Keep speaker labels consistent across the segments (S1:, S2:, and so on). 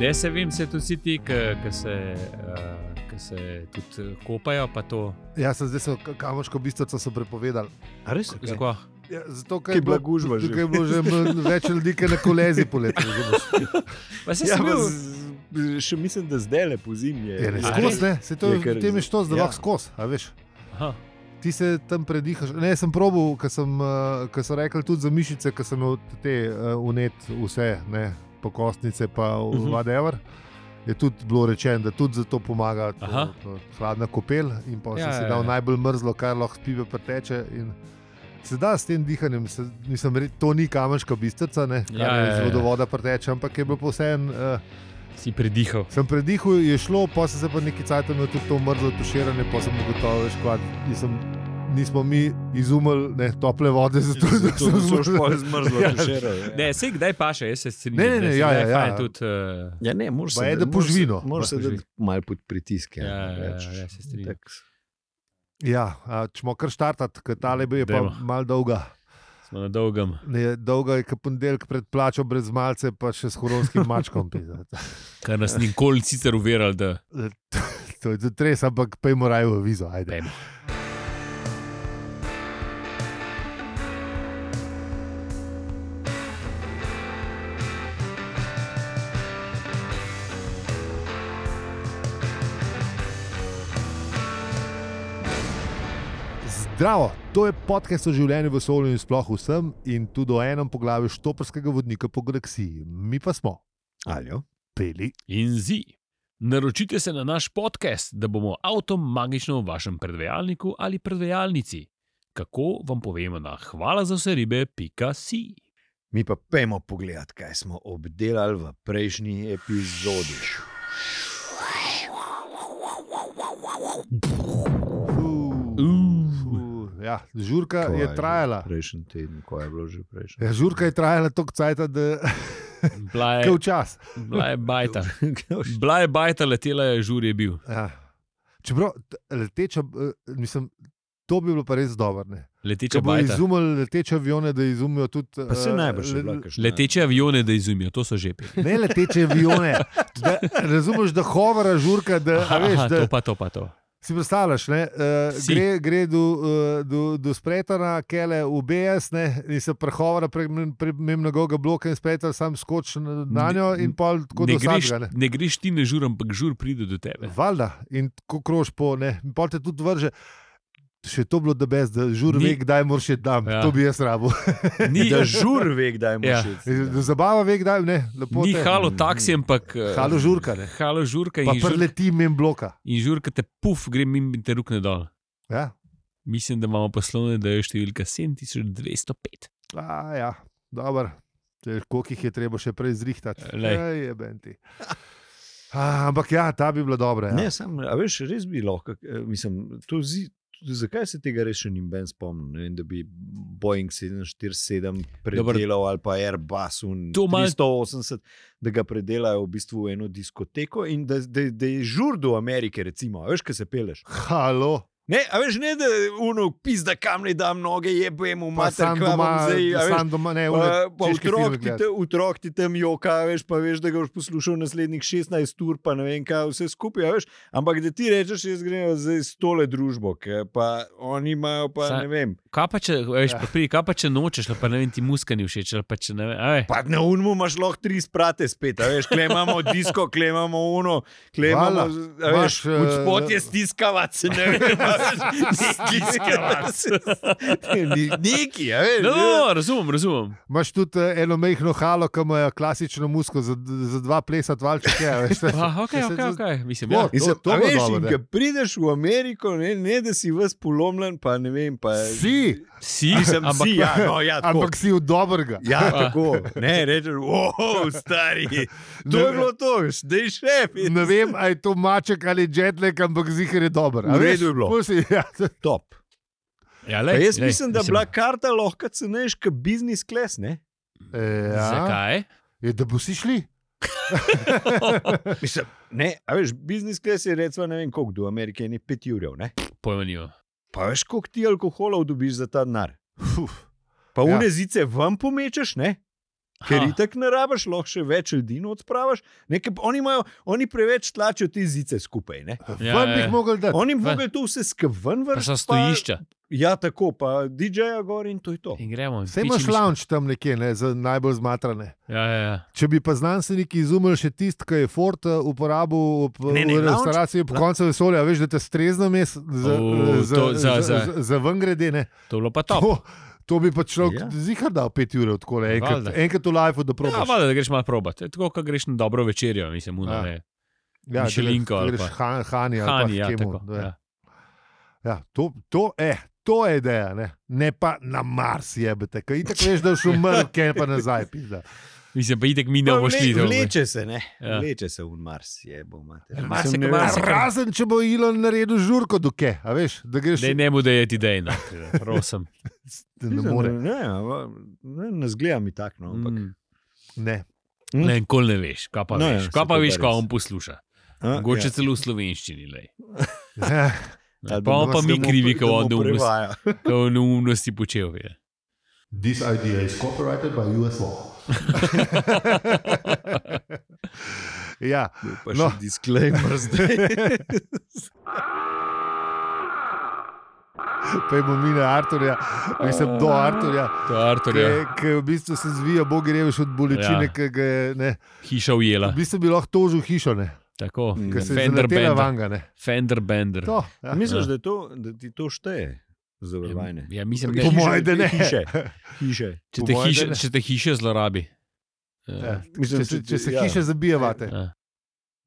S1: Ne, se vem, se tudi vsi ti, ki se, uh, ke se tudi eh, kopajo, pa to.
S2: Jaz sem Ja, zdaj, so- kamoško bistvo so prepovedali.
S3: A res?
S1: Okay. Zakaj?
S2: Ja, zato,
S3: Kaj
S2: ker je bilo-
S3: blagužba že.
S2: ker je bilo že ml- več ljudi, ki na kolezi poleti. razumeš?
S1: Pa se
S3: Ja,
S1: sem
S3: pa
S1: bil.
S3: z, z- še mislim, da zdaj le po zimi je.
S2: Je ne
S1: A
S2: skos,
S1: res?
S2: ne? Se to
S3: Je kar-
S2: je, tem je što, da
S3: ja.
S2: lahko skos, a veš.
S1: Aha.
S2: Ti se tam predihaš. Ne, sem probal, ker sem, eh, ko so rekli tudi za mišice, ker sem imel te eh, unet vse, ne, pokostnice pa
S3: Mhm.
S2: vadever. Je tudi bilo rečeno, da tudi za to pomaga to,
S1: Aha.
S2: to hladna kopel in pa
S1: Ja,
S2: ja, se
S1: ja,
S2: da
S1: ja.
S2: najbolj mrzlo, kar lahko s pive preteče. in Se da s tem dihanjem, se, mislim, re- to ni kamenška bistrica, ne, kar
S1: Ja, ja,
S2: iz
S1: ja.
S2: vodovoda preteče, ampak je bilo povsem. Uh,
S1: Si predihal.
S2: Sem predihal, je šlo, pa sem se pa nekaj cajtov imel tudi to mrzlo tuširanje, pa sem ugotovil, veš, kva, nisem, nismo mi izumili ne, tople vode, zato da
S3: Zato
S2: sem
S3: da so
S2: zmrzel.
S3: špore zmrzlo
S2: Ja.
S3: včeraj.
S1: Ne, se kdaj paše, jaz se strinjam.
S2: Ne, ne, ne,
S1: da se
S2: ja,
S1: kdaj
S2: ja, ja.
S1: fajn Tudi, uh,
S3: Ja, ne, moraš
S2: Pa
S3: se
S2: je, da
S3: moraš
S2: požvino.
S3: se- Moraš se
S1: Pa
S3: dati
S1: požvino.
S3: malo pod pritiske.
S1: ja, ja, ja, ja, se strinjam.
S2: Ja, a, če smo kar štartati, ker tale bi je pa
S1: Dajmo.
S2: mal dolga.
S1: Smo na dolgem.
S2: Ne, dolga je kot ponedeljek pred plačo, brez malce, pa še s horonskim mačkom. pizda.
S1: Kar nas nikoli sicer uverali, da
S2: to je tudi res, ampak pejmo raje v vizo. Ajde.
S1: Dajmo.
S2: Zdravo, to je podcast o življenju v Sovju in sploh vsem, in tudi o enem poglavju štoprskega vodnika po Galaksiji. Mi pa smo
S3: Aljo.
S2: peli.
S1: in zi. Naročite se na naš podcast, da bomo avtom magično v vašem predvajalniku ali predvajalnici. Kako vam povemo na hvala za vse ribe, pika si.
S3: Mi pa pojmo pogledat, kaj smo obdelali v prejšnji epizodi.
S2: Ja, žurka
S3: Kaj
S2: je trajala.
S3: Prejšnji teden, ko je bilo že prejšnji.
S2: Ja, žurka je trajala toliko cajt, da
S1: Bila je,
S2: je včas.
S1: bila je bajta. Bila je bajta, letela je, žur je bil.
S2: Ja. Čeprav t- leteča, eh, mislim, to bi bilo pa res dobro. ne. Če
S1: Leteča
S2: bo
S1: bajta.
S2: izumili leteče avione, da izumijo tudi.
S3: Pa se
S2: eh,
S3: najbrž je
S2: le-
S3: bila kakšna.
S1: Leteče avione, da izumijo, to so žepi.
S2: Ne leteče avione. Da, razumeš, da hovara žurka, da, a veš,
S1: Aha,
S2: da
S1: to pa to, pa to.
S2: si predstavljaš, ne, uh,
S1: Si.
S2: gre, gre do, uh, do, do spretana, kele v BS ne, in se prehovara prek mnogoga bloka in spretar sam skoči na- na
S1: Ne-
S2: njo in pol tako
S1: Ne
S2: do
S1: greš,
S2: sadga. Ne.
S1: ne greš ti na žur, ampak žur pride do tebe.
S2: Valjda in ko krož po ne, in pol te tudi vrže. Še to bilo, da brez, da žur
S1: Ni-
S2: ve, kdaj moraš še tam,
S1: Ja.
S2: ja. to bi jaz rabo.
S1: Ni,
S3: Da žur ve, kdaj mu
S1: Ja.
S3: še.
S2: Zabava ve, kdaj ne, lepo.
S1: ni
S2: te-
S1: halo taksi, ampak eh,
S2: Halo žurka, ne.
S1: halo žurka
S2: Pa
S1: in žur,
S2: preleti mem bloka.
S1: in žurka te puf, gre mimo in te rukne dol.
S2: Ja.
S1: Mislim, da imamo poslovne, da je številka 7205.
S2: A, ja, dobro. Te, Koliko jih je treba še prej zrihtati?
S1: Glej.
S2: je benti. A, ampak ja, ta bi bila dobra. Ja.
S3: Ne, sam, a veš, res bi lahko. eh, Mislim, to zi, tudi zakaj se tega res še nimben spomnil? Ne vem, da bi Boeing 747
S1: Dobro.
S3: predelal ali pa Airbus un
S1: To malo-
S3: 380, da ga predelajo v bistvu v eno diskoteko in da, da, da je žur do Amerike, recimo, a veš, kaj se peleš.
S2: Halo,
S3: Ne, a veš, ne, da uno pizda kam ne dam noge, jebem v
S2: pa
S3: mater,
S2: sam
S3: kva bom
S2: doma,
S3: zdaj, a veš.
S2: sam doma, ne,
S3: Pa,
S2: ure,
S3: pa otrok, ti te, otrok ti tam joka, veš, pa veš, da ga boš poslušal naslednjih 16 ur, pa ne vem, kaj vse skupaj. a Veš, ampak da ti rečeš, jaz grem zdaj s tole družbo, ke pa oni imajo pa
S1: Saj-
S3: ne vem.
S1: Kaj pa če, a veš,
S2: Ja.
S1: pa pri, kaj pa če nočeš, ali pa ne vem, ti muska ni všeč, ali pa če ne vem. Aj,
S3: Pa na unmu imaš lahko tri sprate spet, a veš, kle imamo disko, kle imamo uno, kle
S2: Hvala.
S3: imamo, a
S2: Imaš,
S3: veš, v spot
S2: eh,
S3: je stiskavac, ne vem, a veš, stiskavac. Neki, a veš.
S1: no, no,
S3: ne.
S1: no, razumem, razumem.
S2: Imaš tudi eh, eno mehko halo, ki ima klasično musko za, za dva plesat valčke. Ja, veš,
S1: Ah, ok,
S2: Ja, se-
S1: ok, ok. Mislim, ja.
S2: Bo,
S3: Mislim,
S2: to
S3: a
S2: bo
S3: veš,
S2: dobro,
S3: in
S2: da.
S3: ko prideš v Ameriko, ne, ne da si vas polomljen, pa ne vem. Pa,
S2: Si,
S1: Si,
S3: Mislim,
S1: ampak,
S3: si, ja, no, ja, tako.
S2: ampak Ah. si v dobrega.
S3: Ja, tako. Ne, rečeš, wow, stari. To je bilo to, veš, da je šef. in
S2: Ne vem, ali je to maček ali jetlag, ampak zihar je dober. a
S3: V
S2: veš,
S3: redu je bilo.
S2: pol Si, ja,
S3: Top.
S1: ja,
S3: Pa
S1: lej,
S3: jaz
S1: lej,
S3: mislim, da je bila karta lahko cenejša kot business class. Ne?
S2: ja,
S1: Zakaj?
S2: je, da boš šli.
S3: Mislim, ne, a veš, business class je recimo ne vem koliko, do Amerike je 5 urjev. Ne?
S1: Pojma nima.
S3: Pa veš, koliko ti alkoholov dobiš za ta denar.
S2: Fuf.
S3: Pa
S2: Ja.
S3: unezice ja. vam pomečeš, ne? Ker
S1: Ha.
S3: itak ne rabiš, lahko še več ljudi odpraviš. Nekaj, oni, imajo, oni preveč tlačijo te zice skupaj. Ne?
S1: Ja,
S2: Vam
S1: ja,
S2: bi
S1: ja.
S2: jih mogli dati.
S3: Oni bi mogli to vse skven
S1: Pa so
S3: vrniti.
S1: stojišča
S3: Ja, tako, pa DJ-ja gor in to je to.
S1: in gremo. in
S2: Sej imaš
S1: pičimiška.
S2: lounge tam nekje, ne, za najbolj zmatrane.
S1: Ja, ja, ja.
S2: Če bi pa znanstveniki izumili še tisti, ki je Ford eh, uporabil ob,
S3: Ne, ne,
S2: v
S3: lounge-
S2: restavraciji ob
S3: la-
S2: koncu vesolja, veš, da te strezno mes za, eh,
S1: U,
S2: za,
S1: to-
S2: za,
S1: za-
S2: za,
S1: za-
S2: za ven grede. Ne.
S1: To je bilo pa top.
S2: To, to bi pa človek
S3: Ja.
S2: ja. zihar dal pet ur, tako le, enkrat,
S1: Valjda.
S2: enkrat v lifeu, da
S1: Ja,
S2: probaš.
S1: vada, da greš malo probat. Je Tako, kot greš na dobro večerjo, mislim,
S2: Ja.
S1: una, ne.
S2: da greš-
S1: Michelinko
S2: da
S1: ali
S2: greš
S1: pa-
S2: han, hani, ali
S1: Hani,
S2: pa
S1: ja,
S2: kemu,
S1: tako.
S2: da je.
S1: Ja.
S2: Ja, to, to, eh, to je ideja, ne, ne pa na Mars jebete, kaj ti veš, da si umrl, kaj pa nazaj. Pizda.
S1: Mislim, pa itek mi ne bomo šli. to bo-
S3: No, Vleče se, ne.
S1: Ja.
S3: Ja. Vleče se v Mars, je bo mater.
S1: Ja,
S3: Mislim,
S1: marsikaj-
S3: ne vem.
S1: marsikaj-
S2: Ja, Razen če bo Ilon naredil žurko, dokaj, a veš, da greš
S1: Daj, ne bo da je ti dej, no. prosim.
S2: ne more.
S3: Ne, ne, ne zgleda mi tako. No, ampak-
S1: Mm.
S2: Ne.
S3: Mm.
S1: Ne, nikoli ne veš, kaj pa
S3: No, ja,
S1: veš,
S3: saj
S1: kaj pa
S3: to
S1: veš,
S3: pa
S1: kaj
S3: res.
S1: on posluša.
S3: A,
S1: Mogoče
S3: ja.
S1: celo v slovenščini. lej.
S2: Ja,
S1: Pa
S3: Ali
S1: bomo
S3: da
S1: pa
S3: nas
S1: mi
S3: ne bo-
S1: krivi,
S3: da
S1: ko on
S3: bo
S1: neumnosti-
S3: prevaja.
S1: ko on neumnosti počel. Je.
S2: This idea is copyrighted by US law. ja,
S3: Bil Pa
S2: No.
S3: še disclaimer zdaj.
S2: pojmo mi na Arturja, mislim do Arturja,
S1: To je Artur, je
S2: ki v bistvu se zvija, bog reveš od bolečine,
S1: Ja.
S2: ki ga je. Ne.
S1: hiša
S2: V
S1: ujela.
S2: bistvu bi lahko tožil hišo, ne,
S1: Tako,
S3: Mm.
S2: ker se je
S1: Fender
S2: zaletela
S1: Bender.
S2: vanga. Ne.
S1: Fender Bender.
S2: To, ja.
S3: Misliš,
S1: Ja.
S3: da, je to, da ti to šteje? Zavarovanje.
S1: Ja, mislim, da
S2: Po
S3: Hiše,
S2: mojem, da ne.
S3: hiše. Hiše.
S1: če
S2: po
S1: te
S2: moje, da
S1: hiše,
S2: ne.
S1: če te hiše zlorabi.
S2: Ja.
S1: Ja.
S2: Če
S3: Mislim,
S2: se, če se
S3: ja.
S2: hiše zabijavate.
S1: Ja.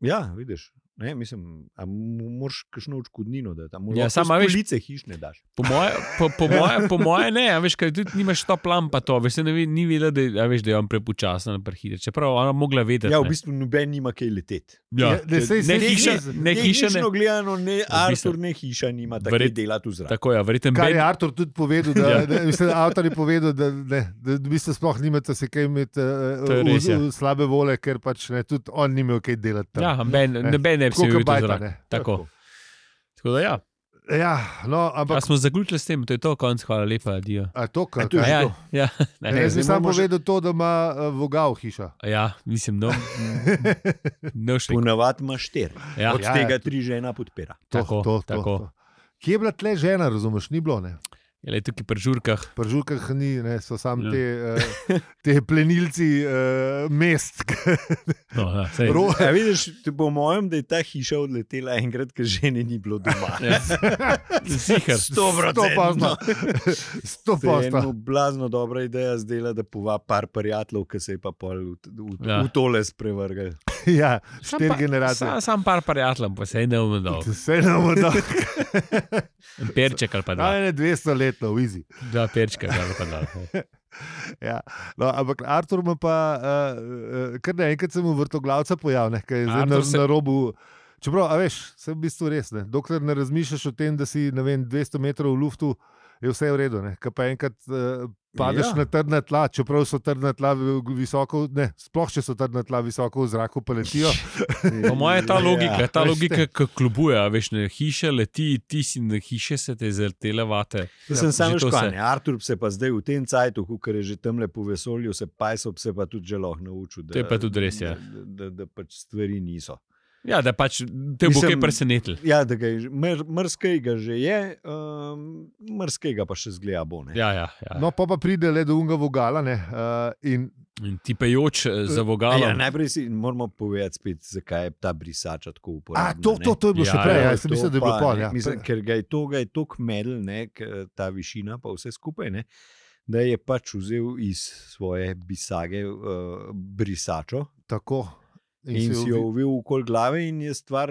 S3: Ja, vidiš. Ne, mislim, a mu moraš kakšno odškodnino dati.
S1: Ja,
S3: Ja,
S1: sama
S3: sama
S1: veš-
S3: veš. Lice hišne daš.
S1: Po moje, po, po, moje, po moje ne, a veš, kaj tudi nimaš ta plan, pa to, veš, saj ne ve, ni videla, da, je- a veš, da je on prepočasna, prehiter. Čeprav ona mogla vedeti.
S3: Ja, v
S1: ne.
S3: bistvu noben nima kaj leteti.
S1: Ja.
S2: ne, sej-
S1: Ne
S2: sej-
S1: hiša,
S2: sej-
S1: ne hiša, ne.
S3: Tehnično gledano, ne
S1: bistvu.
S3: Artur, ne hiša nima tako
S1: Verjet-
S3: Verjet... delati v zraku.
S1: Tako je, verjetno
S2: Kar je
S1: Ben.
S2: Artur tudi povedal, da,
S1: Ja.
S2: ja. ne, mislim, avtor je povedal, da, ne, da, da v bistvu sploh nimate se kaj imeti uh,
S1: To je res, ja.
S2: v, v slabe vole, ker pač ne, tudi on ni imel kaj delati. Tam.
S1: Ja, ben, ne, ben ne bi se
S2: Tako
S1: videl
S2: kot
S1: v
S2: Bajta.
S1: zrak.
S2: ne.
S1: Tako. Tako da ja,
S2: Ja, no,
S1: pa
S2: ampak
S1: smo zaključili s tem, to je to, konc, hvala lepa, adijo.
S2: a to, kar
S3: A to je že
S1: Ja,
S3: to.
S1: ja, ne,
S2: Ne, jaz bi
S3: zdaj
S2: samo
S3: moramo še-
S2: povedal to, da ima eh, vogal hiša.
S1: ja, mislim, no, no še.
S3: Ponavadi imaš štiri.
S1: Ja,
S3: Od
S2: Ja, ja,
S3: ja, tega tri žena podpira.
S2: To,
S1: Tako,
S2: to,
S1: tako.
S2: To, to. Kje je bila tle žena, razumeš, ni bilo. Ne?
S1: je tukaj pri žurkah.
S2: Pri žurkah ni, ne, so samo
S1: Ja.
S2: ja. te, eh, te plenilci uh, mest.
S1: No, ja, sej.
S2: Ro-
S3: A vidiš, t- po mojem, da je ta hiša odletela enkrat, ker žene ni bilo doma.
S1: Ja. Zihar.
S2: Stopazno. Sto
S3: To je ena
S2: posto.
S3: blazno dobra ideja zdela, da pova par prijateljev, ki se je pa pol v, t- v,
S1: Ja.
S3: ja. v tole sprevrgal.
S2: Ja,
S1: Sam
S2: štiri
S1: pa-
S2: generacije.
S1: Sam, sam par prijateljem, pa se je ne umedal.
S2: Vse na vrhu.
S1: Perček ali pa dva.
S2: Ne, 200 let, no, vizi.
S1: Dva perčka ali pa dva.
S2: Ja. No, ampak Artur ima pa, uh, kar naenkrat se mu vrtoglavca pojavlja, ki je zdaj na,
S1: Artur se-
S2: na robu. Čeprav, a veš, sem v bistvu res. Ne. Dokler ne razmišljaš o tem, da si ne vem, 200 metrov v luftu, je vse v redu. Ne. Kaj pa enkrat uh, padeš
S3: Ja.
S2: ja. na trdna tla, čeprav so trdna tla v- visoko, ne, sploh če so trdna tla visoko v zraku, pa letijo.
S1: Po mojem je
S3: Ja.
S1: ta logika, ta
S2: veš,
S1: logika, ki kljubuje, a veš, ne, hiše leti, ti si na hiše se te zrtele vate.
S3: To
S1: Ja, že
S3: sem sam
S1: to
S3: škodan.
S1: se-
S3: Artur se pa zdaj v tem cajtu, ker je že tam lepo vesolju, se pajsop se pa tudi želo naučil.
S1: To
S3: Da,
S1: je pa tudi res, ja.
S3: Da, da, da pač stvari niso.
S1: Ja, da pač te bo
S3: Mislim-
S1: kaj presenetil.
S3: Ja, da ga je že- mr- mrskega že je, um, mrskega pa še zgleda bo. Ne?
S1: Ja, ja, ja.
S2: No, pa, pa pride le do unga vogala ne, uh, in
S1: In ti pejoč eh, za
S3: Ja,
S1: vogalom.
S3: najprej si moramo povedati, spet, zakaj je ta brisača tako
S2: A,
S3: uporabna.
S2: to, to,
S3: ne.
S2: to je bilo
S1: Ja,
S2: še prej,
S1: ja,
S2: ja, jaz sem
S3: to
S2: mislil, da je bilo
S3: pa,
S2: pol.
S3: ne,
S2: Ja.
S3: Mislim, ker ga je to, ga je to kmedel, ne, k- ta višina, pa vse skupaj, ne, da je pač vzel iz svoje bisage uh, brisačo
S2: Tako.
S3: in, in si
S2: jo
S3: jo uvil okoli glave, in je stvar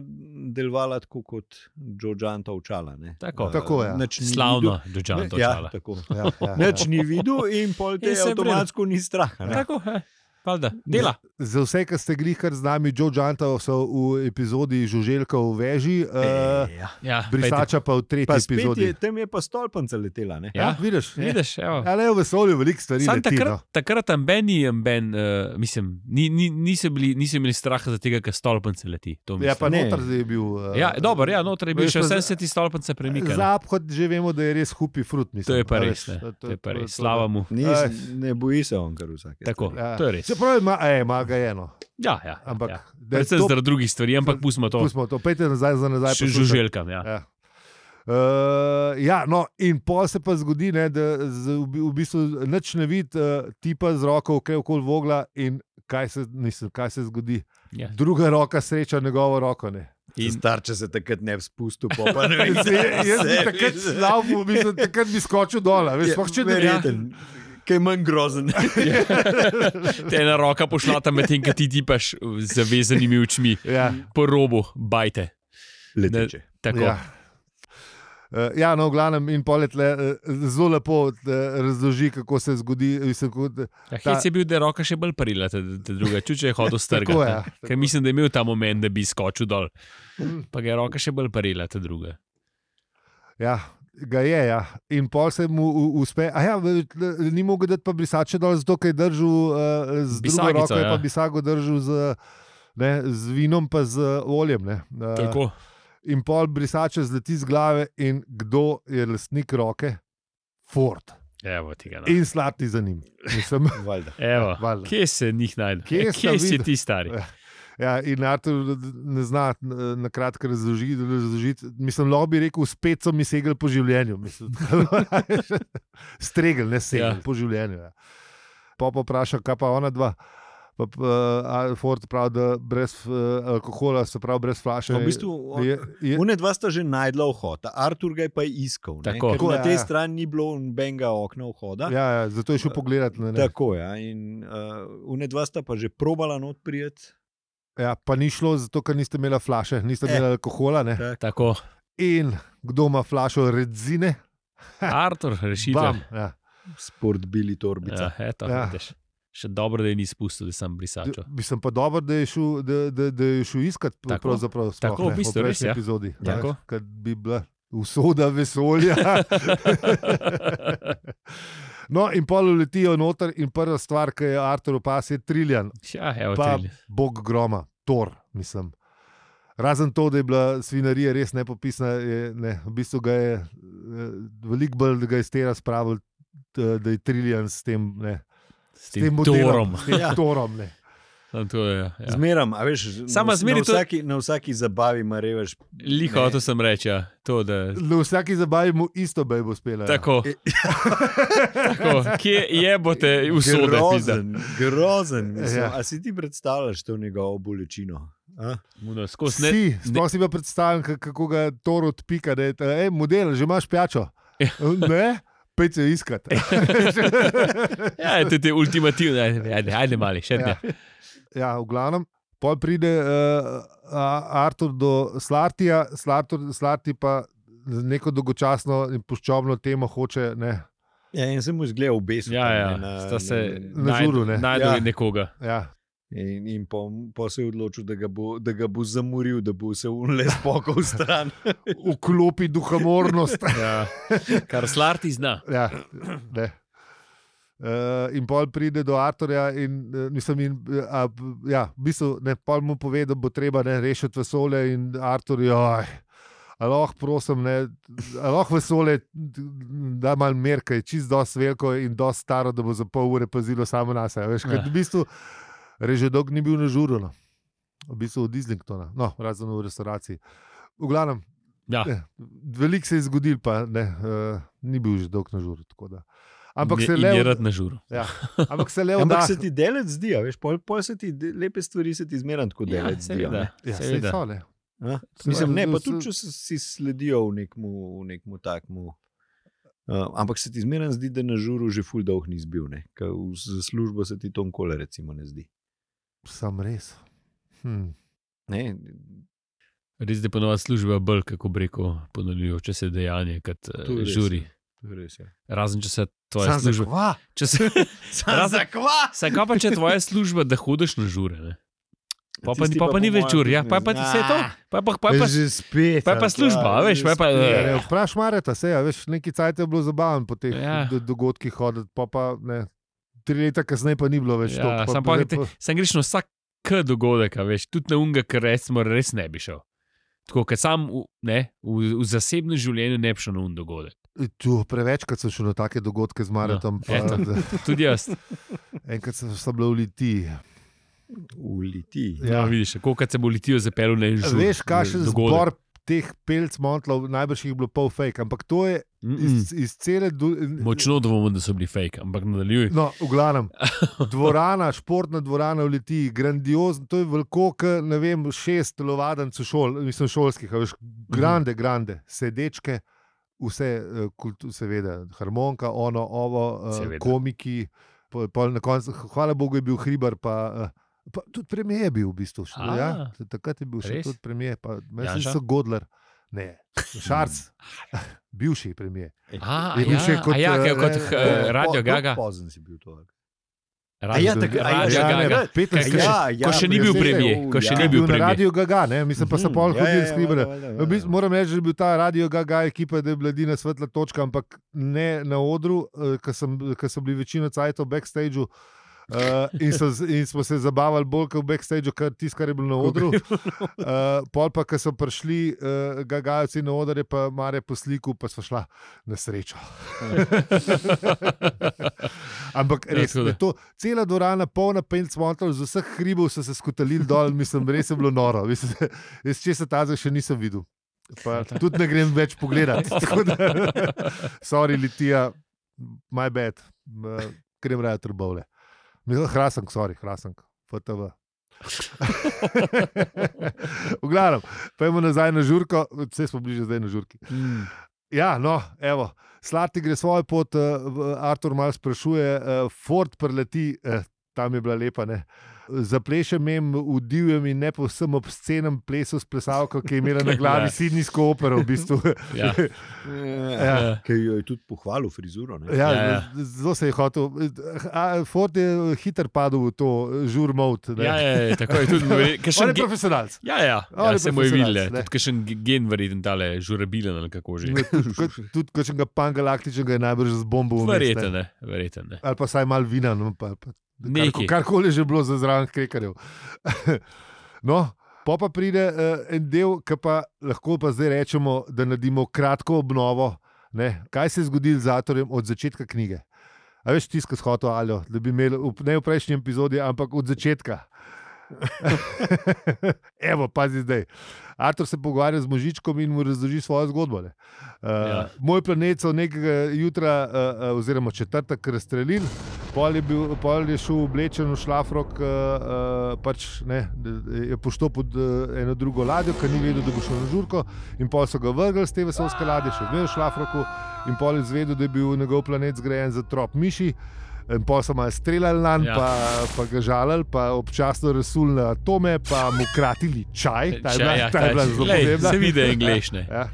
S3: delovala tako kot Džožanta očala. Ne.
S1: Tako.
S3: Eh,
S2: Tako, ja.
S3: nič ni
S1: Slavno,
S3: videl.
S1: dočan to
S3: Ne, Ja,
S1: čala.
S3: tako.
S2: vdi- Ja, ja, ja.
S3: Nič ni videl, in pol te
S1: In se je
S3: avtomatsko ni strah. a ne.
S1: Tako, eh, valjda. Dela.
S2: Za vse, ki ste glihkar z nami, Joe Džanta so v epizodi Žuželka v veži, uh,
S3: ja.
S1: Ja,
S2: brisača pa v tretji
S3: Pa spet
S2: epizodi.
S3: je, tam je pa stolpnica letela. Ne?
S1: pejte.
S2: Ja,
S1: ja,
S2: vidiš,
S1: vidiš, evo.
S2: ali je v vesolju veliko stvari.
S1: Sam
S2: leti,
S1: takrat,
S2: no.
S1: takrat tam Benny in Ben, uh, mislim, ni, ni, niso, bili, niso imeli straha za tega, ker stolpence leti. to mislim.
S2: Ja, pa
S3: Ne.
S2: noter zdaj je bil. Uh,
S1: ja, dobro, ja, noter je bil
S2: veš
S1: še
S2: pa
S1: vse
S2: za-
S1: se ti stolpence premika. ne.
S2: Za obhod že vemo, da je res hupi frut. Mislim,
S1: To je pa
S2: a
S1: res,
S2: veš,
S1: ne,
S2: to-
S1: to je pa
S2: to-
S1: res.
S2: to-
S1: Slava mu.
S3: Ni,
S2: Aj.
S3: ne boji se on, kar vsake.
S1: Tako,
S2: Ja.
S1: to je res.
S2: Čeprav ima, e, ima ga eno,
S1: Ja, ja,
S2: ampak
S1: ja.
S2: da je
S1: Predvsem
S2: to-
S1: zaradi drugih stvari, ampak pustimo to.
S2: Pustimo to, pejte nazaj za nazaj.
S1: Še
S2: poslušati.
S1: žuželjkam. Ja.
S2: Ja. Uh, ja, no, in pol se pa zgodi, ne, da z, v bi- v bistvu nič ne vidi, uh, ti pa z roko, ki je okoli vogla. In kaj se, mislim, kaj se zgodi?
S1: Ja.
S2: Druga roka sreča njegovo roko. Ne.
S1: In-
S3: In... Star, če se takrat ne bi spustil, pol pa ne vem,
S2: Jaz, jaz, jaz bi takrat slav, mislim, takrat bi skočil dol. a Veš, sploh če ne
S1: verjetno.
S3: reden. Ja, Kaj je manj grozen.
S1: Te ena roka pošla tam, medtem ko ti tipaš z zavezanimi očmi
S2: Ja,
S1: po robu, bajte.
S3: Leteče.
S1: Tako.
S2: ja. Uh, ja, no, v glavnem, in polet le, uh, zelo lepo uh, razloži, kako se zgodi. Mislim, kot,
S1: Ja,
S2: Ta-
S1: Hec je bil, da je roka še bolj parila, te, te druga čuče je hodil strgati.
S2: Tako,
S1: ne.
S2: ja,
S1: Ker
S2: tako. Mm.
S1: Mislim, da je imel ta moment, da bi skočil dol. Pa ga je roka še bolj parila, te druga.
S2: Ja, ga je. Ja. In pol se mu u- uspe. A Ja, v- tle- ni mogel dati pa brisače dol, zato ker je držal uh, z drugo
S1: Bisagico,
S2: roko,
S1: ja.
S2: je pa bisago držal z, ne, z vinom, pa z oljem. Ne. Eh,
S1: Tako.
S2: in pol brisače zleti z glave, in kdo je lastnik roke? Ford.
S1: Evo tega. No.
S2: In slati za njim. Mislim,
S3: Valjda.
S1: Evo.
S2: valjda.
S1: Kje se njih najde?
S2: Kje
S1: Ja,
S2: sta
S1: Kje si
S2: videl?
S1: ti stari?
S2: Ja. Ja, in Artur ne zna na na kratko razloži- razložiti. Mislim, lahko bi rekel, spet so mi segli po življenju. Mislim, Stregel, ne segel
S1: Ja.
S2: ja. po življenju. Ja. Pa pa vpraša, kaj pa ona dva. Pa, pa, eh, Ford pravi, da brez eh, alkohola, se pravi brez flaše.
S3: No, v bistvu, on-
S2: je, je,
S3: Une dva sta že najdla vhod, Artur ga je pa iskal. ne,
S1: Tako.
S3: ker
S2: Tako,
S3: Na
S2: ja,
S3: tej
S2: ja.
S3: strani ni bilo nobenega okna vhoda.
S2: ja, ja, zato je šel pogledat. Ne, ne.
S3: Tako je. Ja. In uh, une dva sta pa že probala not prijeti.
S2: Ja, pa ni šlo, zato ker niste imeli flaše, niste
S3: Eh.
S2: imeli alkohola. Ne.
S1: Tako.
S2: In kdo ima flašo redzine?
S1: Artur, rešitev.
S2: Bam, ja.
S3: Sport bili torbica.
S1: Ja, eto,
S2: Ja.
S1: ja. Še dobro, da je ni spustil, da sem brisačo.
S2: Mislim pa dobro, da je šel, da, da, da je šel iskat,
S1: Tako.
S2: pravzaprav sploh
S1: Tako, v
S2: ne,
S1: bistvu
S2: po
S1: res,
S2: prejšnji
S1: ja.
S2: epizodi, ne,
S1: Tako.
S2: kad bi bila usoda vesolja. no, in pol uletijo noter, in prva stvar, ki je Artur opas, je triljan,
S1: Ja, evo,
S2: pa
S1: trilje.
S2: bog groma, tor, mislim. Razen to, da je bila svinarija res nepopisna, je, ne, v bistvu ga je eh, veliko bolj, da ga je stera spravil, t- eh, da je triljan s tem, ne,
S1: s
S2: s tem
S1: tem
S2: modelom,
S1: motorom.
S2: s tem
S3: Ja.
S2: torom. Ne.
S1: Ja.
S3: Zmeram, a veš,
S1: Sama
S3: na,
S1: zmeraj
S3: na,
S1: to-
S3: vsaki, na vsaki zabavi ima revež.
S1: Liho,
S3: Ne.
S1: to sem reče. To, da...
S2: Na vsaki zabavi mu isto bej bo spela. ja.
S1: Tako. Tako. Kje je bote usode? pizda?
S3: grozen, grozen. Mislim,
S2: Ja.
S3: ja. A si ti predstavljaš to njegovo bolečino? a?
S1: Muno, skozi ne-
S2: Vsi, sploh si pa predstavljam, ka- kako ga Tor odpika, da je ta, "Ej, model, že imaš pijačo. Ne, pej se iskat.
S1: Ja, to je ultimativno, ajde, ajde, ajde mali, še ne.
S2: Ja, v glavnem. Pol pride uh, Artur do Slartija, Slartur, Slarti pa z neko dolgočasno in puščobno temo hoče. Ne,
S3: Ja, in sem mu zgledal obesil.
S1: Ja, ja, sta se
S2: na žuru, ne.
S1: najdel
S3: Ja.
S1: nekoga.
S2: ja.
S3: In, in po, po se je odločil, da ga, bo, da ga bo zamoril, da bo se unle spokal stran.
S2: Vklopi duhamornost.
S1: Ja. Kar slarti zna.
S2: Ja, ne. Uh, in pol pride do Arturja, in eh, mislim, in, eh, a, b- ja, v bistvu, ne, pol mu pove, da bo treba ne, rešiti vesolje, in Artur je, aloh, prosim, ne, aloh vesolje, da malo merka, je čist dosti veliko in dosti staro, da bo za pol ure pazilo samo nas. a Veš, ja.
S1: Ja.
S2: V bistvu, reže dolg ni bil na žuru, no. v bistvu od Islingtona, no, razen v restauraciji. V glavnem,
S1: Ja.
S2: Ne, Veliko se je zgodil, pa ne, uh, ni bil že dolg na žuru. tako da. Ampak
S1: Ne-
S2: se,
S1: in je
S2: le,
S1: rad na žuru.
S2: ja, ampak se le
S3: Ampak
S2: vda.
S3: se ti delec zdi, a veš, pol, pol se ti de- lepe stvari se ti zmeraj tako delec.
S1: Ja,
S3: Ja, zdijo,
S1: seveda.
S3: ne.
S2: Ja, saj
S1: seveda.
S2: so, ne.
S3: A?
S2: Saj-
S3: Mislim, ne, pa
S2: vse-
S3: tudi če se- si sledijo v nekmu, v nekmu takmu. Uh, ampak se ti zmeraj zdi, da na žuru že ful dolg ni zbil, ne? Ker v- za službo se ti to nikoli recimo ne zdi.
S2: Sam res. Hm.
S3: Ne?
S1: Res je ponovna služba bolj, kako bi rekel, ponavljajoče se dejanje kot eh,
S3: To je res.
S1: žuri.
S3: Res ja. je.
S1: Razen če se tvoje
S2: Sam za
S1: službe.
S2: kva.
S1: Če se,
S3: Sam
S1: Razen-
S3: za kva!
S1: saj kaj pa če je tvoja služba, da hodiš na žure? Ne? Pa pa,
S3: Tisti
S1: pa,
S3: pa
S1: pa
S3: po
S1: ni več
S3: mojem
S1: ur, ja,
S3: tudi
S1: pa je
S3: ne
S1: pa ti
S3: zna.
S1: vse to. Pa je pa, pa, je pa,
S3: že spet.
S1: pa, je pa
S3: ali
S1: služba,
S3: kva,
S1: a veš,
S3: že
S1: pa je pa.
S3: spet.
S1: eh.
S2: Ne, Vpraš Mareta, se je, veš, neki cajt je bilo zabaven po teh
S1: Ja.
S2: ja. dogodkih hoditi, pa pa ne. Tri leta kasneje pa ni bilo več
S1: Ja,
S2: toliko,
S1: Sam
S2: pač pa,
S1: pa
S2: pa,
S1: te- sam greš na vsak k dogodek, a veš, tudi na unga, ker recimo res ne bi šel. Tako kot sam v, ne, v, v zasebnem življenju ne bi šel na un dogodek.
S2: tu, prevečkrat sem šel na take dogodke z Maretom.
S1: No, eto.
S2: No,
S1: Tudi jaz.
S2: enkrat sem sem bil v Litiji.
S3: Uliti.
S1: Ja.
S2: Ja.
S1: No, vidiš, kako kad se bo letijo zapeljal na en žur.
S2: Veš, kakšen
S1: dogodek.
S2: zbor teh pelc montlov, najbrž jih je bilo pol fake, ampak to je
S1: Mm, mm.
S2: iz, iz cele. Du,
S1: Močno dvomim, da so bili fake, ampak nadaljuj.
S2: No, v glavnem. Dvorana, športna dvorana v Litiji, grandiozna, to je veliko, kot ne vem, šest telovadencev šol, mislim, šolskih, a veš,
S3: Mhm.
S2: grande, grande, sedečke, vse, eh, kultu, seveda, harmonika, ono, ovo, eh,
S1: Seveda.
S2: komiki. Pol, pol na koncu, hvala Bogu, je bil Hribar, pa, eh, pa tudi premijer je bil v bistvu. Še,
S1: A,
S2: ja,
S3: Ah.
S2: t- takrat je bil še
S1: res?
S2: tudi premijer, pa meni
S1: Janša?
S2: so Godler, ne, Šarc,
S3: Mm.
S2: bivši premijer.
S1: A,
S2: Je bil
S1: ja,
S2: še kot,
S1: a ja,
S2: eh,
S1: kaj, kot
S2: eh,
S1: eh,
S2: eh,
S1: Radio Gaga.
S3: Pozen si bil to.
S1: Radio,
S3: ja, tako- a ja,
S1: Radio
S3: ja, ne,
S1: Gaga.
S3: Gaga.
S1: Kaj, kaj,
S2: 15
S1: ja, ko še ni bil
S2: ja,
S1: premijer,
S3: ja,
S1: ko še
S3: ja.
S1: ni
S2: je
S1: bil
S2: bil na
S1: premijer.
S2: radiju Gaga, ne? mislim pa so
S3: Mhm,
S2: pol
S3: ja,
S2: hodili s
S3: ja, ja,
S2: Hriberem.
S3: valjda, valjda,
S2: V bistvu
S3: valjda.
S2: Moram reči, da je bil ta radio Gaga ekipa, da je bila edina svetla točka, ampak ne na odru, eh, ker so bili večino cajtov backstageu. Uh, in, so, z- in smo se zabavali bolj kot v backstageu, kar tisto, kar je bilo na odru. Uh, pol pa, ko so prišli, uh, gagajci na oder, je pa mare posliku, pa smo šla na srečo. Ampak
S1: Ja,
S2: res,
S1: tako da.
S2: ja, to, cela dvorana, polna pencmontov, z vseh hribov so se skotalili dol, mislim, res je bilo noro. Mislim, jaz česa tazga še nisem videl. Pa, tudi ne grem več pogledat. Tako da, Sorry, litija, my bad, Eh, grem raje trbovle. Mislim, hrasen, sorry, hrasen, FTV. v glavnem, pojmo nazaj na žurko, vse smo bliže zdaj na žurki.
S1: Mm.
S2: Ja, no, evo. Slati gre svojo pot, eh, Artur malo sprašuje, eh, Ford preleti, eh, tam je bila lepa. Ne? Zapleše mem v divjem in ne povsem obscenem plesu s plesalko, ki je imela na
S1: Ja.
S2: glavi Sidnijsko opero. V bistvu.
S1: Ja.
S3: Ja.
S2: ja.
S1: Ja.
S3: Ker jo je tudi pohvalil frizuro. ne.
S2: Ja,
S1: Ja, ja.
S2: Zelo se je hotel. A, Ford je hitro padel v to eh, žurmovt.
S1: Ja, ja, ja, tako je tudi. ve- kakšen
S2: On je
S1: ge-
S2: profesionalc.
S1: Ja, ja, ja
S2: On je
S1: se mu je
S2: profesionalc,
S1: videl,
S2: ne.
S1: tudi kakšen ge- gen verjeten tale žurabilen ali kako že.
S2: Ne, Tudi kot- tudi kakšnega pangalaktičnega je najbrž z bombo vmes, ne.
S1: Verjeten, ne, verjeten. Ne.
S2: Ali pa vsaj malo vina, no, pa, pa
S1: Nekaj.
S2: Karkoli že bilo za zraven krekarjev. no, pa pa pride uh, en del, ki pa lahko pa zdaj rečemo, da naredimo kratko obnovo. Ne? Kaj se je zgodilo z avtorjem od začetka knjige? A veš, tiskal shoto Aljo, da bi imeli, v- ne v prejšnji epizodi, ampak od začetka. Evo, pazi zdaj. Artur se pogovarja z možičkom in mu razloži svojo zgodbo. Uh,
S1: Ja.
S2: ja. Moj planet so nekega jutra, uh, uh, oziroma četrtek, razstrelili, pol je, bil, pol je šel oblečen v šlafrok, uh, uh, pač ne, d- je poštel pod uh, eno drugo ladjo, ker ni vedel, da bo šel na žurko. In pol so ga vrgli z te vesolske ladje, še vedno v šlafroku, in pol je zvedel, da je bil njegov planet zgrajen za trop miši. In pol so malo streljali na njega,
S1: Ja.
S2: ja. pa, pa ga žalili, pa občasno resuli na atome, pa mu kratili čaj. Ta je bila,
S1: Če, ja,
S2: ta je bila
S1: ta-
S2: zelo
S1: glej,
S2: pomembna.
S1: Se vidi, da je anglišne.
S2: Ja,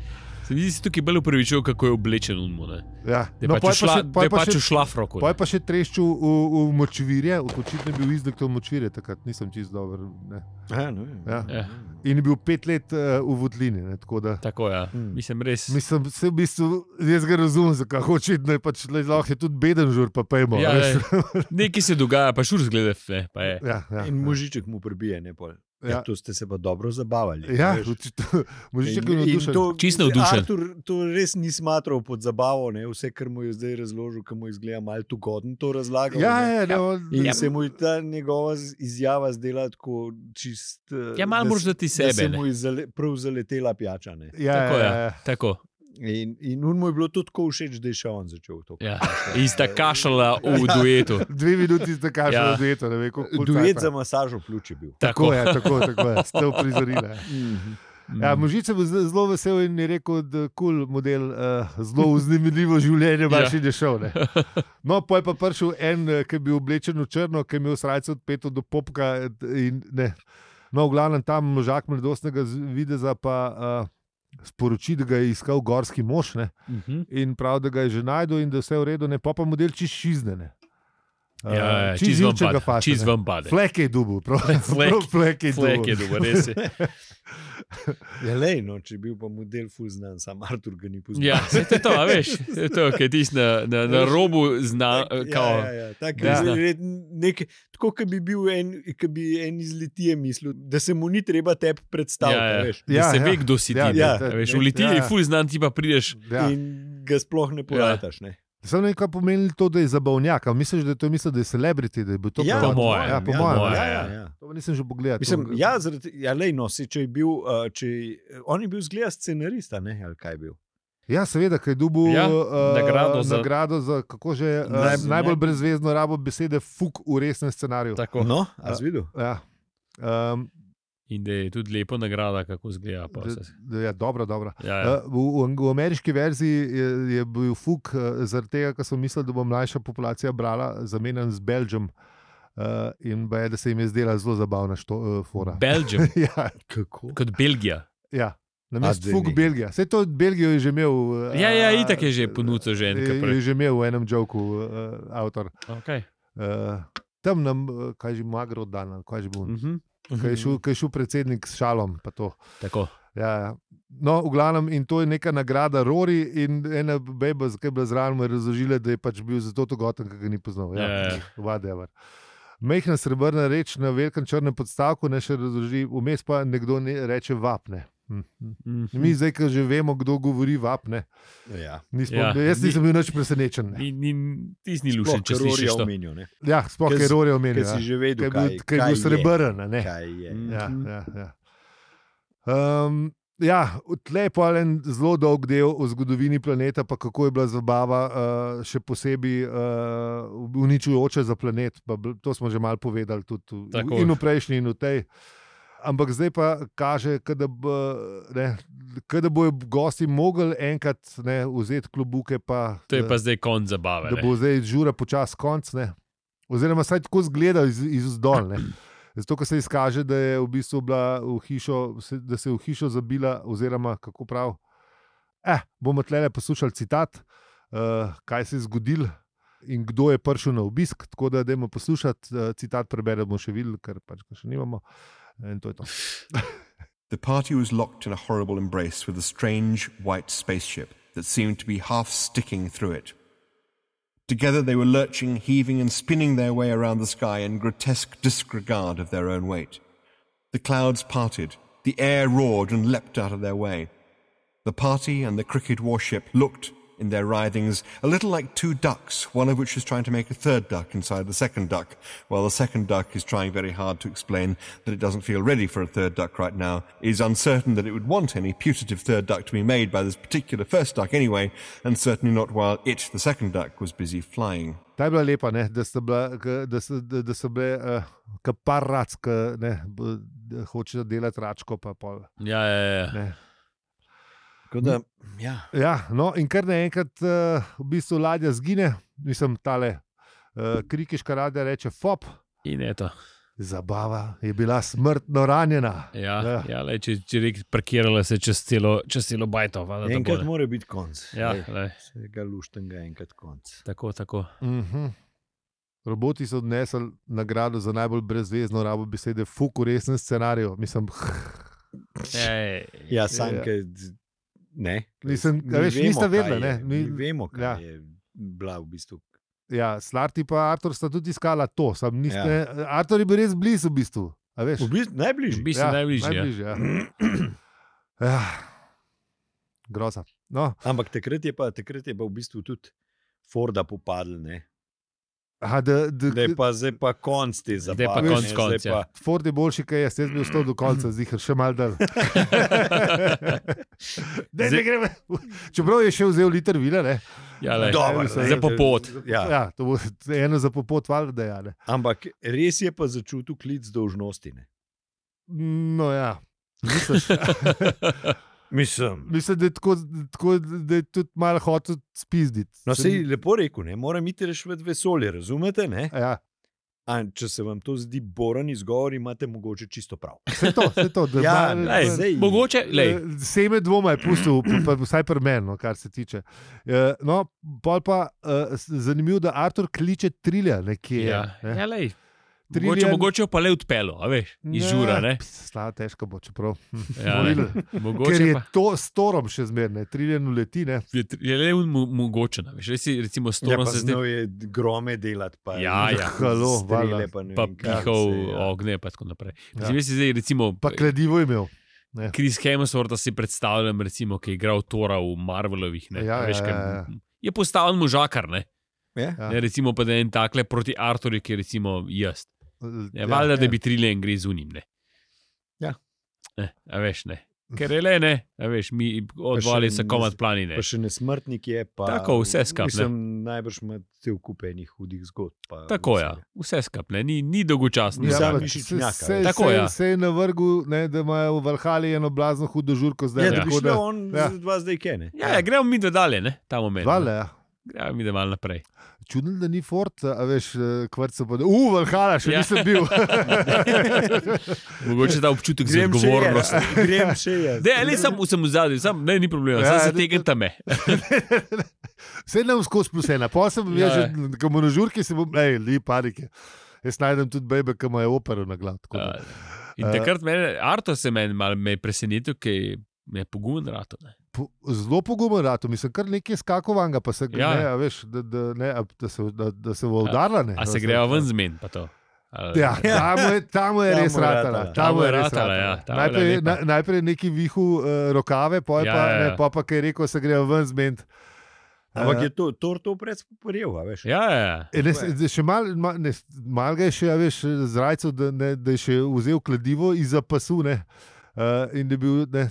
S1: Se mi zdi, da si tukaj bolj upravičil, kako je oblečen unmo. Ne.
S2: ja.
S1: Da je no,
S2: pol
S1: pač šla,
S2: še- pol
S1: pa pač
S2: še-
S1: šla v roko.
S2: Poj pa še treščil v, v močvirje, očitno je bil izdek v močvirje, takrat nisem čist dober. Ne.
S3: Ja, ne vem.
S2: Ja.
S1: Ja.
S2: In je bil pet let uh, v Vodlini. Ne, tako da,
S1: Tako ja.
S3: Mm.
S1: Mislim, res.
S2: mislim, se v bistvu, jaz ga razumem, zakaj očitno je pač le- lahko je tudi beden žur, pa pojmo.
S1: Ja,
S2: veš.
S1: ne, nekaj se dogaja, pa šur zgleda. Ne, pa je.
S2: ja, ja.
S3: In možiček mu prebije, ne pol. Ja.
S2: Ja.
S3: To ste se pa dobro zabavali.
S2: Ja,
S3: veš.
S2: očitno. Možiček je
S3: In- in
S2: navdušen.
S3: to-
S1: Čisto navdušen.
S3: Artur to res ni smatral pod zabavo, ne? vse, kar mu je zdaj razložil, ki mu izgleda malo tugodno to razlagal.
S2: Ja,
S3: ne.
S2: ja, ne, on,
S1: Ja.
S3: In ja. se mu je ta njegova z- izjava zdela tako čist. eh,
S1: Ja, malo
S3: da
S1: moraš
S3: s-
S1: dati
S3: Da se
S1: sebe, ne.
S3: mu je zale, prav zaletela pijača. Ne?
S2: ja,
S1: Tako,
S2: ja,
S1: ja.
S2: ja.
S1: Tako.
S3: In, in un mu je bilo to tako všeč, da je še on začel to.
S1: Ja. In sta kašala v duetu.
S2: Dve minuti ste kažili,
S1: Ja.
S2: ja. dueto, ne vem, kako kul
S3: Duet
S2: cajta.
S3: za masažo pljuč je bil.
S1: Tako.
S2: Tako
S1: mm,
S2: je, tako, tako je, ste uprizorili.
S3: Mhm.
S2: Ja, Možič je bil z- zelo vesel in je rekel, da je kul cool model, uh, zelo vznemirljivo življenje,
S1: Ja.
S2: baš ja. je šel. Ne. No, pa je pa prišel en, eh, ki je bil oblečen v črno, ki je imel srce od peto do popka. eh, In, ne. no, v glavnem tam možak mladostnega z- videza, pa uh, sporoči, da ga je iskal gorski mož ne?
S1: Uh -huh.
S2: in prav, da ga je že najdel in da je vse v redu, ne pa pa model čist šizdene.
S1: Ja,
S2: Eh,
S1: čez vam pade. Čez vam pade.
S2: Fleke je dubu, prav,
S1: Flek-
S2: prav fleke je
S1: Flek je
S2: dubu.
S1: dober, res je.
S3: Ja, lej, no, če bi bil pa model ful znan, sam Artur ga ni poznal.
S1: Ja, saj to je to, a veš, to je to, kaj tiš na, na, na robu zna, e,
S3: Tak,
S1: kao,
S3: ja, ja, ja, tak,
S1: Da.
S3: ja. Red, nek, tako, kot bi bil en, ke bi en iz Litije mislil, da se mu ni treba tebi predstaviti.
S1: Ja, ja.
S3: a veš.
S1: da
S2: Ja,
S1: se
S2: ja.
S1: ve, kdo si ti.
S2: Ja,
S1: ne.
S3: ja.
S1: A Veš, v Litiji
S2: Ja.
S1: je ful znan, ti pa prideš.
S2: Ja.
S3: In ga sploh
S1: Ja.
S3: ne porataš. Ne?
S2: Samo nekaj pomeni to, da je zabavnjak. a Misliš, da je to misel, da je celebrity, da je bil to
S3: Ja,
S1: po
S2: prav-
S1: mojem,
S2: Ja, po
S1: ja,
S2: mojem.
S1: moje,
S2: ja.
S3: ja, ja, ja.
S2: To pa nisem že pogledal.
S3: Mislim,
S2: to-
S3: ja, zaradi, ja, lej, no, si, če je bil, uh, če, je- on je bil zgleda scenarist, a ne, ali kaj je bil.
S2: Ja, seveda, ker je dubu
S1: Ja,
S2: eh,
S1: nagrado za-
S2: nagrado za kako že eh,
S3: Naj-
S2: najbolj
S3: naj-
S2: brezvezno rabo besede fuk v resnem scenariju.
S1: Tako.
S3: No, a si videl?
S2: Ja. Um,
S1: In da je tudi lepo nagrada, kako zgleda. pa
S2: da,
S1: vse.
S2: da, ja, dobro, dobro.
S1: Ja,
S2: Eh,
S1: ja.
S2: V, v, v ameriški verziji je, je bil fuk, eh, zaradi tega, ker sem mislil, da bo mlajša populacija brala, zamenjan z Belgijem. Uh, in ba je, da se jim je zdela zelo zabavna što, uh, fora.
S1: Belgium,
S2: ja,
S3: Kako?
S1: kot Belgija.
S2: ja. Na mestu
S3: zdaj
S2: fuk
S3: ni.
S2: Belgija. Vse to Belgijo je že imel. eh,
S1: Ja, ja, itak je že ponudil že
S2: Je,
S1: enkrat
S2: je
S1: prej.
S2: že imel v enem joku uh, avtor.
S1: Okay.
S2: Uh, tam nam, eh, kaj že magro dan, ali kaj že bo.
S1: Mhm.
S2: Kaj je šel- ko je šel predsednik s šalom. pa to.
S1: Tako.
S2: Ja, ja. No, v glavnem, in to je neka nagrada Rori, in ena beba, ki je bila zraven, mu je razložila, da je pač bil zato togoten, ki ga ni poznal.
S1: Ja,
S2: Ja,
S1: ja.
S2: whatever. Mehna srebrna reč na velikem črnem podstavku, ne še razloži, vmes pa nekdo ne, reče vapne. Hm.
S1: Mhm.
S2: Mi zdaj, ki že vemo, kdo govori vapne,
S3: Ja.
S2: nismo,
S1: Ja,
S2: ja, jaz
S1: ni-
S2: nisem bil nič presenečen. Ne.
S1: Ni, ni, ti si lušen, če slišiš to.
S3: omenil, ne?
S2: Ja, sploh
S3: Ker
S2: je
S3: si-
S2: Rori
S3: Ker
S2: omenil.
S3: si
S2: ja.
S3: že
S2: Ker
S3: vedel,
S2: je
S3: kaj,
S2: bil- ker je bil srebrn. a ne.
S3: Je, kaj je.
S2: Ja,
S1: Mhm.
S2: ja, ja. Um, ja, tle je pa en zelo dolg del o zgodovini planeta, pa kako je bila zabava, uh, še posebej uh, uničujoča za planet. Pa, bl- to smo že malo povedali, tudi
S1: Tako.
S2: v, in v prejšnji, in v tej. Ampak zdaj pa kaže, ke da b- ne, ke da bojo gosti mogli enkrat ne, vzeti klobuke. Pa,
S1: To je pa zdaj konc zabave.
S2: da
S1: ne.
S2: bo zdaj žura počasi konc. Ne? Oziroma, saj tako zgleda iz, iz zdol. Ne? Zato, ker se izkaže, da, je v bistvu bila v hišo, se- da se je v hišo zabila, oziroma kako prav. Eh, bomo tlele poslušali citat, uh, kaj se je zgodilo in kdo je prišel na obisk. Tako da, dajmo poslušati uh, citat, preberemo še videli, ker pač ga še nimamo. In to je to.
S4: The party was locked in a horrible embrace with a strange white spaceship that seemed to be half sticking through it. Together they were lurching, heaving, and spinning their way around the sky in grotesque disregard of their own weight. The clouds parted, the air roared and leapt out of their way. The party and the cricket warship looked, in their writhings, a little like two ducks, one of which is trying to make a third duck inside the second duck, while the second duck is trying very hard to explain that it doesn't feel ready for a third duck right now, is uncertain that it would want any putative third duck to be made by this particular first duck anyway, and certainly not while it, the second duck, was busy flying.
S2: Ta je bila lepa, ne? da so bile, da so, da, da so bile uh, kaparac, ki ne, b- da hočejo delati račko, pa pol.
S1: Ja, ja, ja.
S2: Ne.
S3: Tako Da, ja.
S2: Ja, no, in kar naenkrat uh, v bistvu ladja zgine, mislim, tale uh, krikiška ladja reče: Fop,
S1: In eto.
S2: zabava je bila smrtno ranjena.
S1: Ja,
S2: Ja.
S1: ja, lej, če, če rek, parkirala se čez celo, čez celo bajto. valjda, da bo,
S3: Enkrat
S1: ne.
S3: mora biti konc.
S1: Ja,
S3: Lej,
S1: lej,
S3: Vsega luštenga enkrat konc.
S1: tako, tako.
S2: Uh -huh. Roboti so odnesli nagrado za najbolj brezvezno rabo besede, fuk v resnem scenariju. Mislim, hm,
S1: Ej,
S3: Ja, sanke. Ne.
S2: Nisem- a veš, nista vedela, ne.
S3: Mi
S2: Ni-
S3: vemo, kaj
S2: ja.
S3: ja. je bila v bistvu.
S2: ja, Slarti pa Artur sta tudi iskala to, sam niste.
S3: Ja.
S2: Ja. Artur je bil res blizu, v bistvu. a veš.
S3: V bistvu najbližji.
S1: v bistvu ja, najbližje. Ja.
S2: najbližje, ja. ja. Groza. No,
S3: Ampak takrat je pa, takrat je pa v bistvu tudi Forda popadl, ne.
S2: aha, da, da,
S3: Zdaj pa, zdaj pa konc te
S1: Zdaj
S3: zabave.
S1: pa
S3: ne,
S1: konc,
S3: zdaj
S1: konc, ja.
S3: pa-
S2: Ford je boljši, kaj jaz, jaz bi ostal do konca, zdaj še mal dal. Daj,
S3: Zdaj-
S2: ne grem. Čeprav je še vzel liter vina, ne.
S1: Ja, lej,
S3: Dobro,
S2: Mislim,
S1: za popot.
S2: Ja.
S3: Ja.
S2: ja, to bo eno za popot, valjda, da je.
S3: Ampak res je pa začutil klic dolžnosti. Ne?
S2: No, ja. Misliš,
S3: Mislim.
S2: mislim, da je tako, tako, da je tudi malo hotel spizditi.
S3: No, se je lepo rekel, ne moram iti rešiti vesolje, razumete? Ne?
S2: Ja,
S3: A če se vam to zdi boren izgovor, imate mogoče čisto prav.
S2: Vse to, vse to. da
S3: Ja,
S2: ima-
S1: Lej,
S3: zdaj-
S1: mogoče, lej,
S2: Eh, Seme dvoma je pustil, p- pa vsaj pri meni, no, kar se tiče. Eh, No, pol pa eh, s- zanimivo, da Artur kliče trilja nekje.
S1: ja, ja,
S2: ne.
S1: lej.
S2: Trillion-
S1: Mogoče, mogoče jo pa le odpelo, a veš, iz
S2: Ne,
S1: žura. Ne?
S2: pst, Slabo, težko bo, čeprav.
S1: Ja,
S2: Ja,
S1: ne.
S2: Ker
S1: Mogoče
S2: je
S1: pa
S2: to s torom še zmerno, triljen uleti. Ne.
S1: je, tr- je le un mo- mogoče. a Veš, res si, recimo,
S3: Ja,
S1: storom
S3: pa
S1: ja, se zdaj
S3: znal je grome delati. Pa,
S1: Ja, ja.
S2: Halo,
S3: strele,
S2: valjda.
S3: pa, ne
S1: pa
S3: vem kaj
S1: pihal
S3: vse, ja.
S1: ognje in tako naprej.
S2: Ja.
S1: Mislim, jaz si zdaj, recimo,
S2: Pa kladivo je imel.
S1: Kris Hemsworth si predstavljam, recimo, ki je igral Tora v Marvelovih. Ne, a
S2: Ja, ja,
S1: veš,
S2: ja,
S1: kaj-
S2: ja.
S1: Je postavljen možakar, ne?
S3: Ja.
S2: Ja.
S1: ne recimo pa da je en takle proti Arturju, ki je recimo jaz. Ne, ja, valjda, da bi trilen gre z unim. Ne.
S3: Ja.
S1: Eh, a veš, ne.
S2: Ja,
S1: Ker je le ne, a veš, mi odvali
S3: še
S1: se
S3: ne
S1: komad
S3: z-
S1: planine.
S3: Pa še nesmrtnik je. Pa,
S1: Tako, vse skap, ne.
S3: Mislim, najbrž ima cel kup enih hudih zgodb. Pa,
S1: Tako je, ja. vse skupaj, ni, ni dolgočasno.
S3: Ni
S1: Ja,
S3: samo
S2: pa
S3: mišičnjaka,
S2: se-
S3: veš.
S2: se-
S1: Tako,
S2: se-
S1: ja.
S2: Se je na vrhu, da imajo v Valhali eno blazno hudo žurko zdaj.
S3: Ja,
S1: Ja.
S3: da bi
S2: tako
S3: šel on
S2: ja.
S3: ja. z dva zdaj kene.
S1: ja, ja, gremo mi da dalje, ne, ta moment. ne.
S2: Vale, ja.
S1: Gremo mi da malo naprej.
S2: Čudno, da ni Ford, a veš, eh, kvrca bo. Uf, Valhalla, še
S1: Ja.
S2: nisem bil.
S1: Mogoče ta občutek za
S3: Grem še jaz.
S1: odgovornost.
S3: Grem še jaz.
S1: Ne, ali sem sem v zadju, sam, ne, ni problema,
S2: Ja,
S1: ja,
S2: ja,
S1: se
S2: da-
S1: tegnete me.
S2: Vse nam skozi plus ena, pa sem bil
S1: Ja,
S2: že
S1: ja.
S2: ko bom na žurki, se bom, hej, li panike. Jaz najdem tudi bebe, ki imajo opero na glav. tako da.
S1: Uh, In takrat mene, Arto se meni malo me je presenetil, ki me je pogumen rato. Ne.
S2: Po- Zelo pogumen rato, mislim, kar nekaj skakovanga, pa se gre,
S1: Ja.
S2: ne, a veš, da, da, ne, a, da se, da, da se bo udarila. ne.
S1: A se
S2: Veš,
S1: grejo
S2: da-
S1: ven zmen, pa to. Ali-
S2: Ja, tam je, tam je
S3: Tam
S2: res
S3: mu je
S2: ratala.
S3: ratala.
S2: Tam mu je res
S1: ratala, ja,
S2: ratala.
S1: tam je
S2: Najprej,
S1: lepa.
S2: na, najprej neki vihu uh, rokave, pol
S1: Ja,
S2: pa,
S1: ja,
S2: ne,
S1: ja.
S2: pol pa ki je rekel, se grejo ven zment.
S3: Ampak je to, to, to predsporil, a veš.
S1: Ja, ja, ja.
S2: E, ne,
S3: Tako
S2: se-
S3: je.
S2: še malo mal, ne, mal ga je še, a veš, zrajcev, da, ne, da je še vzel kladivo izza pasu. Ne, uh, in da je bil. Ne,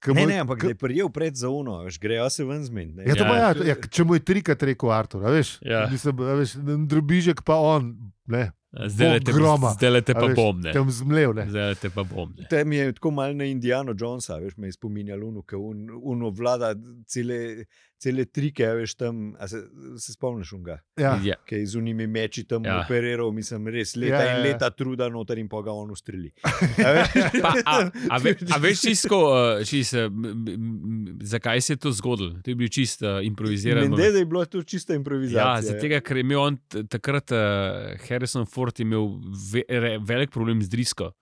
S2: ke mu
S3: Ne,
S2: je-
S3: ne, ampak da
S2: ke-
S3: je prijel pred za uno, a veš, grejo se ven zmen.
S2: Ja, to
S1: Ja,
S2: pa ja, to- ja, če mu je trikrat rekel Artur, a veš,
S1: Ja.
S2: mislim, a veš, drobižek pa on, ne,
S1: Zdaj le te,
S2: groma.
S1: zdaj le te
S2: a
S1: pa
S2: veš,
S1: bomne.
S2: tam zmlev. Ne.
S1: Zdaj le te pa bomne.
S3: Tam ja, je tako malo na Indijano Jonesa, a veš, me je spominjal Uno, ki un, un obvlada cele, cele trike, a veš, tam, a se, se spomniš unga,
S2: Ja.
S1: Ja.
S3: ki je z unimi meči tam
S1: Ja.
S3: ja. operiral, mislim, res leta
S2: Ja,
S3: ja,
S2: ja,
S3: in
S2: ja.
S3: leta truda noter in pa ga on ustreli. A veš?
S1: Pa, a, a, ve, a veš, čisto, uh, čist, uh, m- m- m- zakaj se je to zgodilo? To je bil čisto uh, improviziran. moment.
S3: Mende, da je bilo to čista improvizacija.
S1: Ja, zaradi tega, ker je imel on t- takrat, uh, Harrison Ford je imel ve, re, velik problem z drisko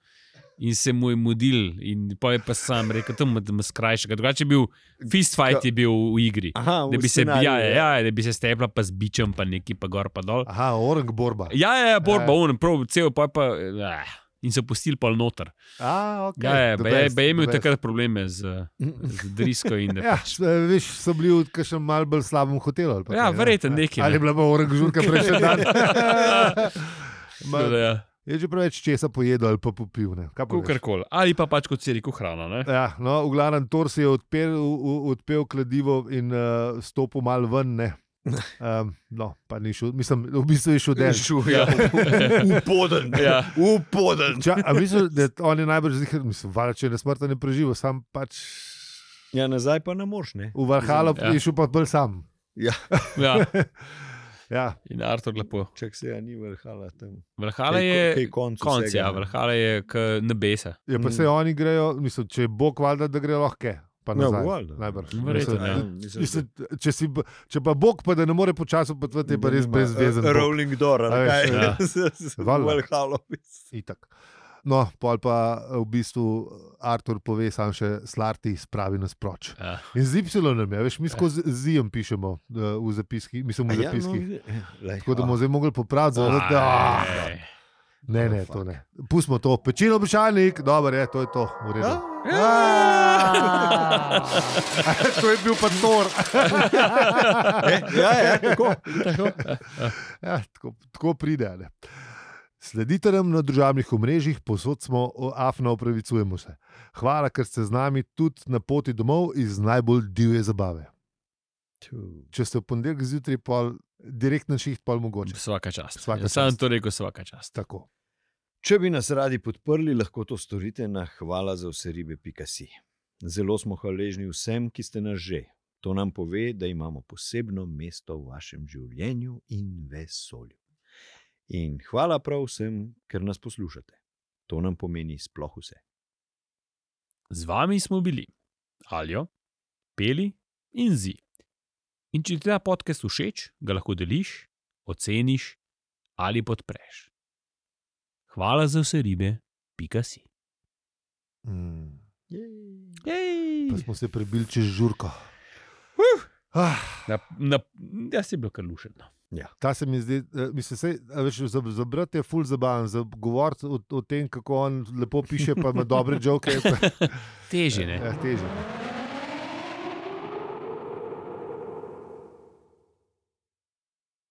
S1: in se mu je mudil, in pa je pa sam rekel, tam, da ima skrajšek. Drugače je bil, fist fight je bil v igri.
S3: Aha,
S1: Da
S3: v
S1: bi se,
S3: scenariju,
S1: ja, ja, ja, da bi se stepla, pa z bičem, pa neki, pa gor, pa dol.
S2: Aha, orang borba.
S1: Ja, ja, ja borba,
S2: Ja.
S1: on, prav, cel pa je pa. Eh, in so pustili pol noter.
S2: A, okay,
S1: Ja, ja,
S2: the
S1: ba je,
S2: best,
S1: ba je
S2: the
S1: imel
S2: best.
S1: takrat probleme z, z drisko in
S2: Ja, s- eh, veš, so bili v kakšnem malce bolj slabem hotelu. ali pa
S1: Ja,
S2: kaj, ne?
S1: verjetno nekaj,
S2: Ali
S1: ne.
S2: je bila pa orang žurka prejšnji dan. Ma,
S1: Tako da ja,
S2: je že preveč česa pojedel ali pa popil. ne, kaj pa veš.
S1: kakorkoli. Ali pa pač kot si rekel, hrana. Ne?
S2: Ja, no, v glavnem Tor si je odpel, u- u- odpel kladivo in uh, stopil malo ven. ne. Um, no, pa ni šel, mislim, v bistvu je šel dež.
S3: Žuja, upoden,
S1: Ja.
S3: upoden.
S2: Ča, a mislim, da on je najbrž zihar, mislim, valjda, če je na smrt ne preživel, sam pač
S3: Ja, nazaj pa ne moreš, ne.
S2: v Valhalo
S1: Ja.
S2: ja. je šel pa bolj sam.
S1: Ja.
S2: Ja,
S1: In Artur lepo.
S3: Čak se ja ni vrhala tam.
S1: Vrhala
S3: Kaj- kaj
S1: je.
S3: koncu
S1: Konc,
S3: vsega,
S1: ja,
S3: ne.
S1: vrhala je k nebesa.
S2: Ja, pa
S3: Mm.
S2: se oni grejo, mislim, če bo kvalda, da grejo lahko. Pa
S3: Ja,
S2: nazaj,
S3: valjda.
S2: najbrž.
S1: Verjetno,
S2: Mislim,
S1: ja.
S2: da-
S3: Mislim,
S2: mislim, če, si, b- če pa Bog, pa da ne more počasi potovati, je pa res brezvezen. Bog.
S3: Rolling door,
S2: A
S3: ali
S2: veš,
S3: kaj
S1: ja.
S3: je
S2: Valjda.
S3: Valhalo.
S2: Itak. No, pol pa v bistvu Artur pove, sam še slarti spravi nas proč.
S1: Ja.
S2: In z Y, ja, veš, mi skozi zijem pišemo eh, v zapiskih, mislim
S3: ja, no,
S2: v zapiskih. Tako da
S3: Ah.
S2: bomo zdaj mogli popraviti, zelo da. ah,
S1: Aj.
S2: Ne, ne, to ne. Pustimo to, pečino običajnik, dobro je, to je to, v redu.
S1: Ja!
S2: to je bil pa Thor.
S3: Ja, ja, tako.
S2: Ja, tako, tako pride. a Ne? Sledite nam na družbenih omrežjih, posod smo, o, afna opravičujemo se. Hvala, ker ste z nami tudi na poti domov iz najbolj divje zabave. Če ste v ponedeljek zjutraj, pol direktno šiht, pol mogoče.
S1: Vsaka čast.
S2: Svaka
S1: Jaz Sam
S2: čast.
S1: to rekel, vsaka čast.
S2: Tako.
S3: Če bi nas radi podprli, lahko to storite na hvala za vse ribe.si. Zelo smo hvaležni vsem, ki ste nas že. To nam pove, da imamo posebno mesto v vašem življenju in vesolju. In hvala prav vsem, ker nas poslušate. To nam pomeni sploh vse.
S1: Z vami smo bili Aljo, Peli in Zi. In če ti ta podcast všeč, ga lahko deliš, oceniš ali podpreš. Hvala za vse ribe, pika si.
S2: Mm.
S1: Jej.
S2: Pa smo se prebili čez žurko. Ah,
S1: Na, na, jaz sem bil kar lušen. no.
S2: ta se mi zdi, eh, mislim, sej, a veš, za, za brat je ful zabaven, za govoriti o, o tem, kako on lepo piše, pa Ja, ima dobre žoke.
S1: Težje, ne?
S2: Teže.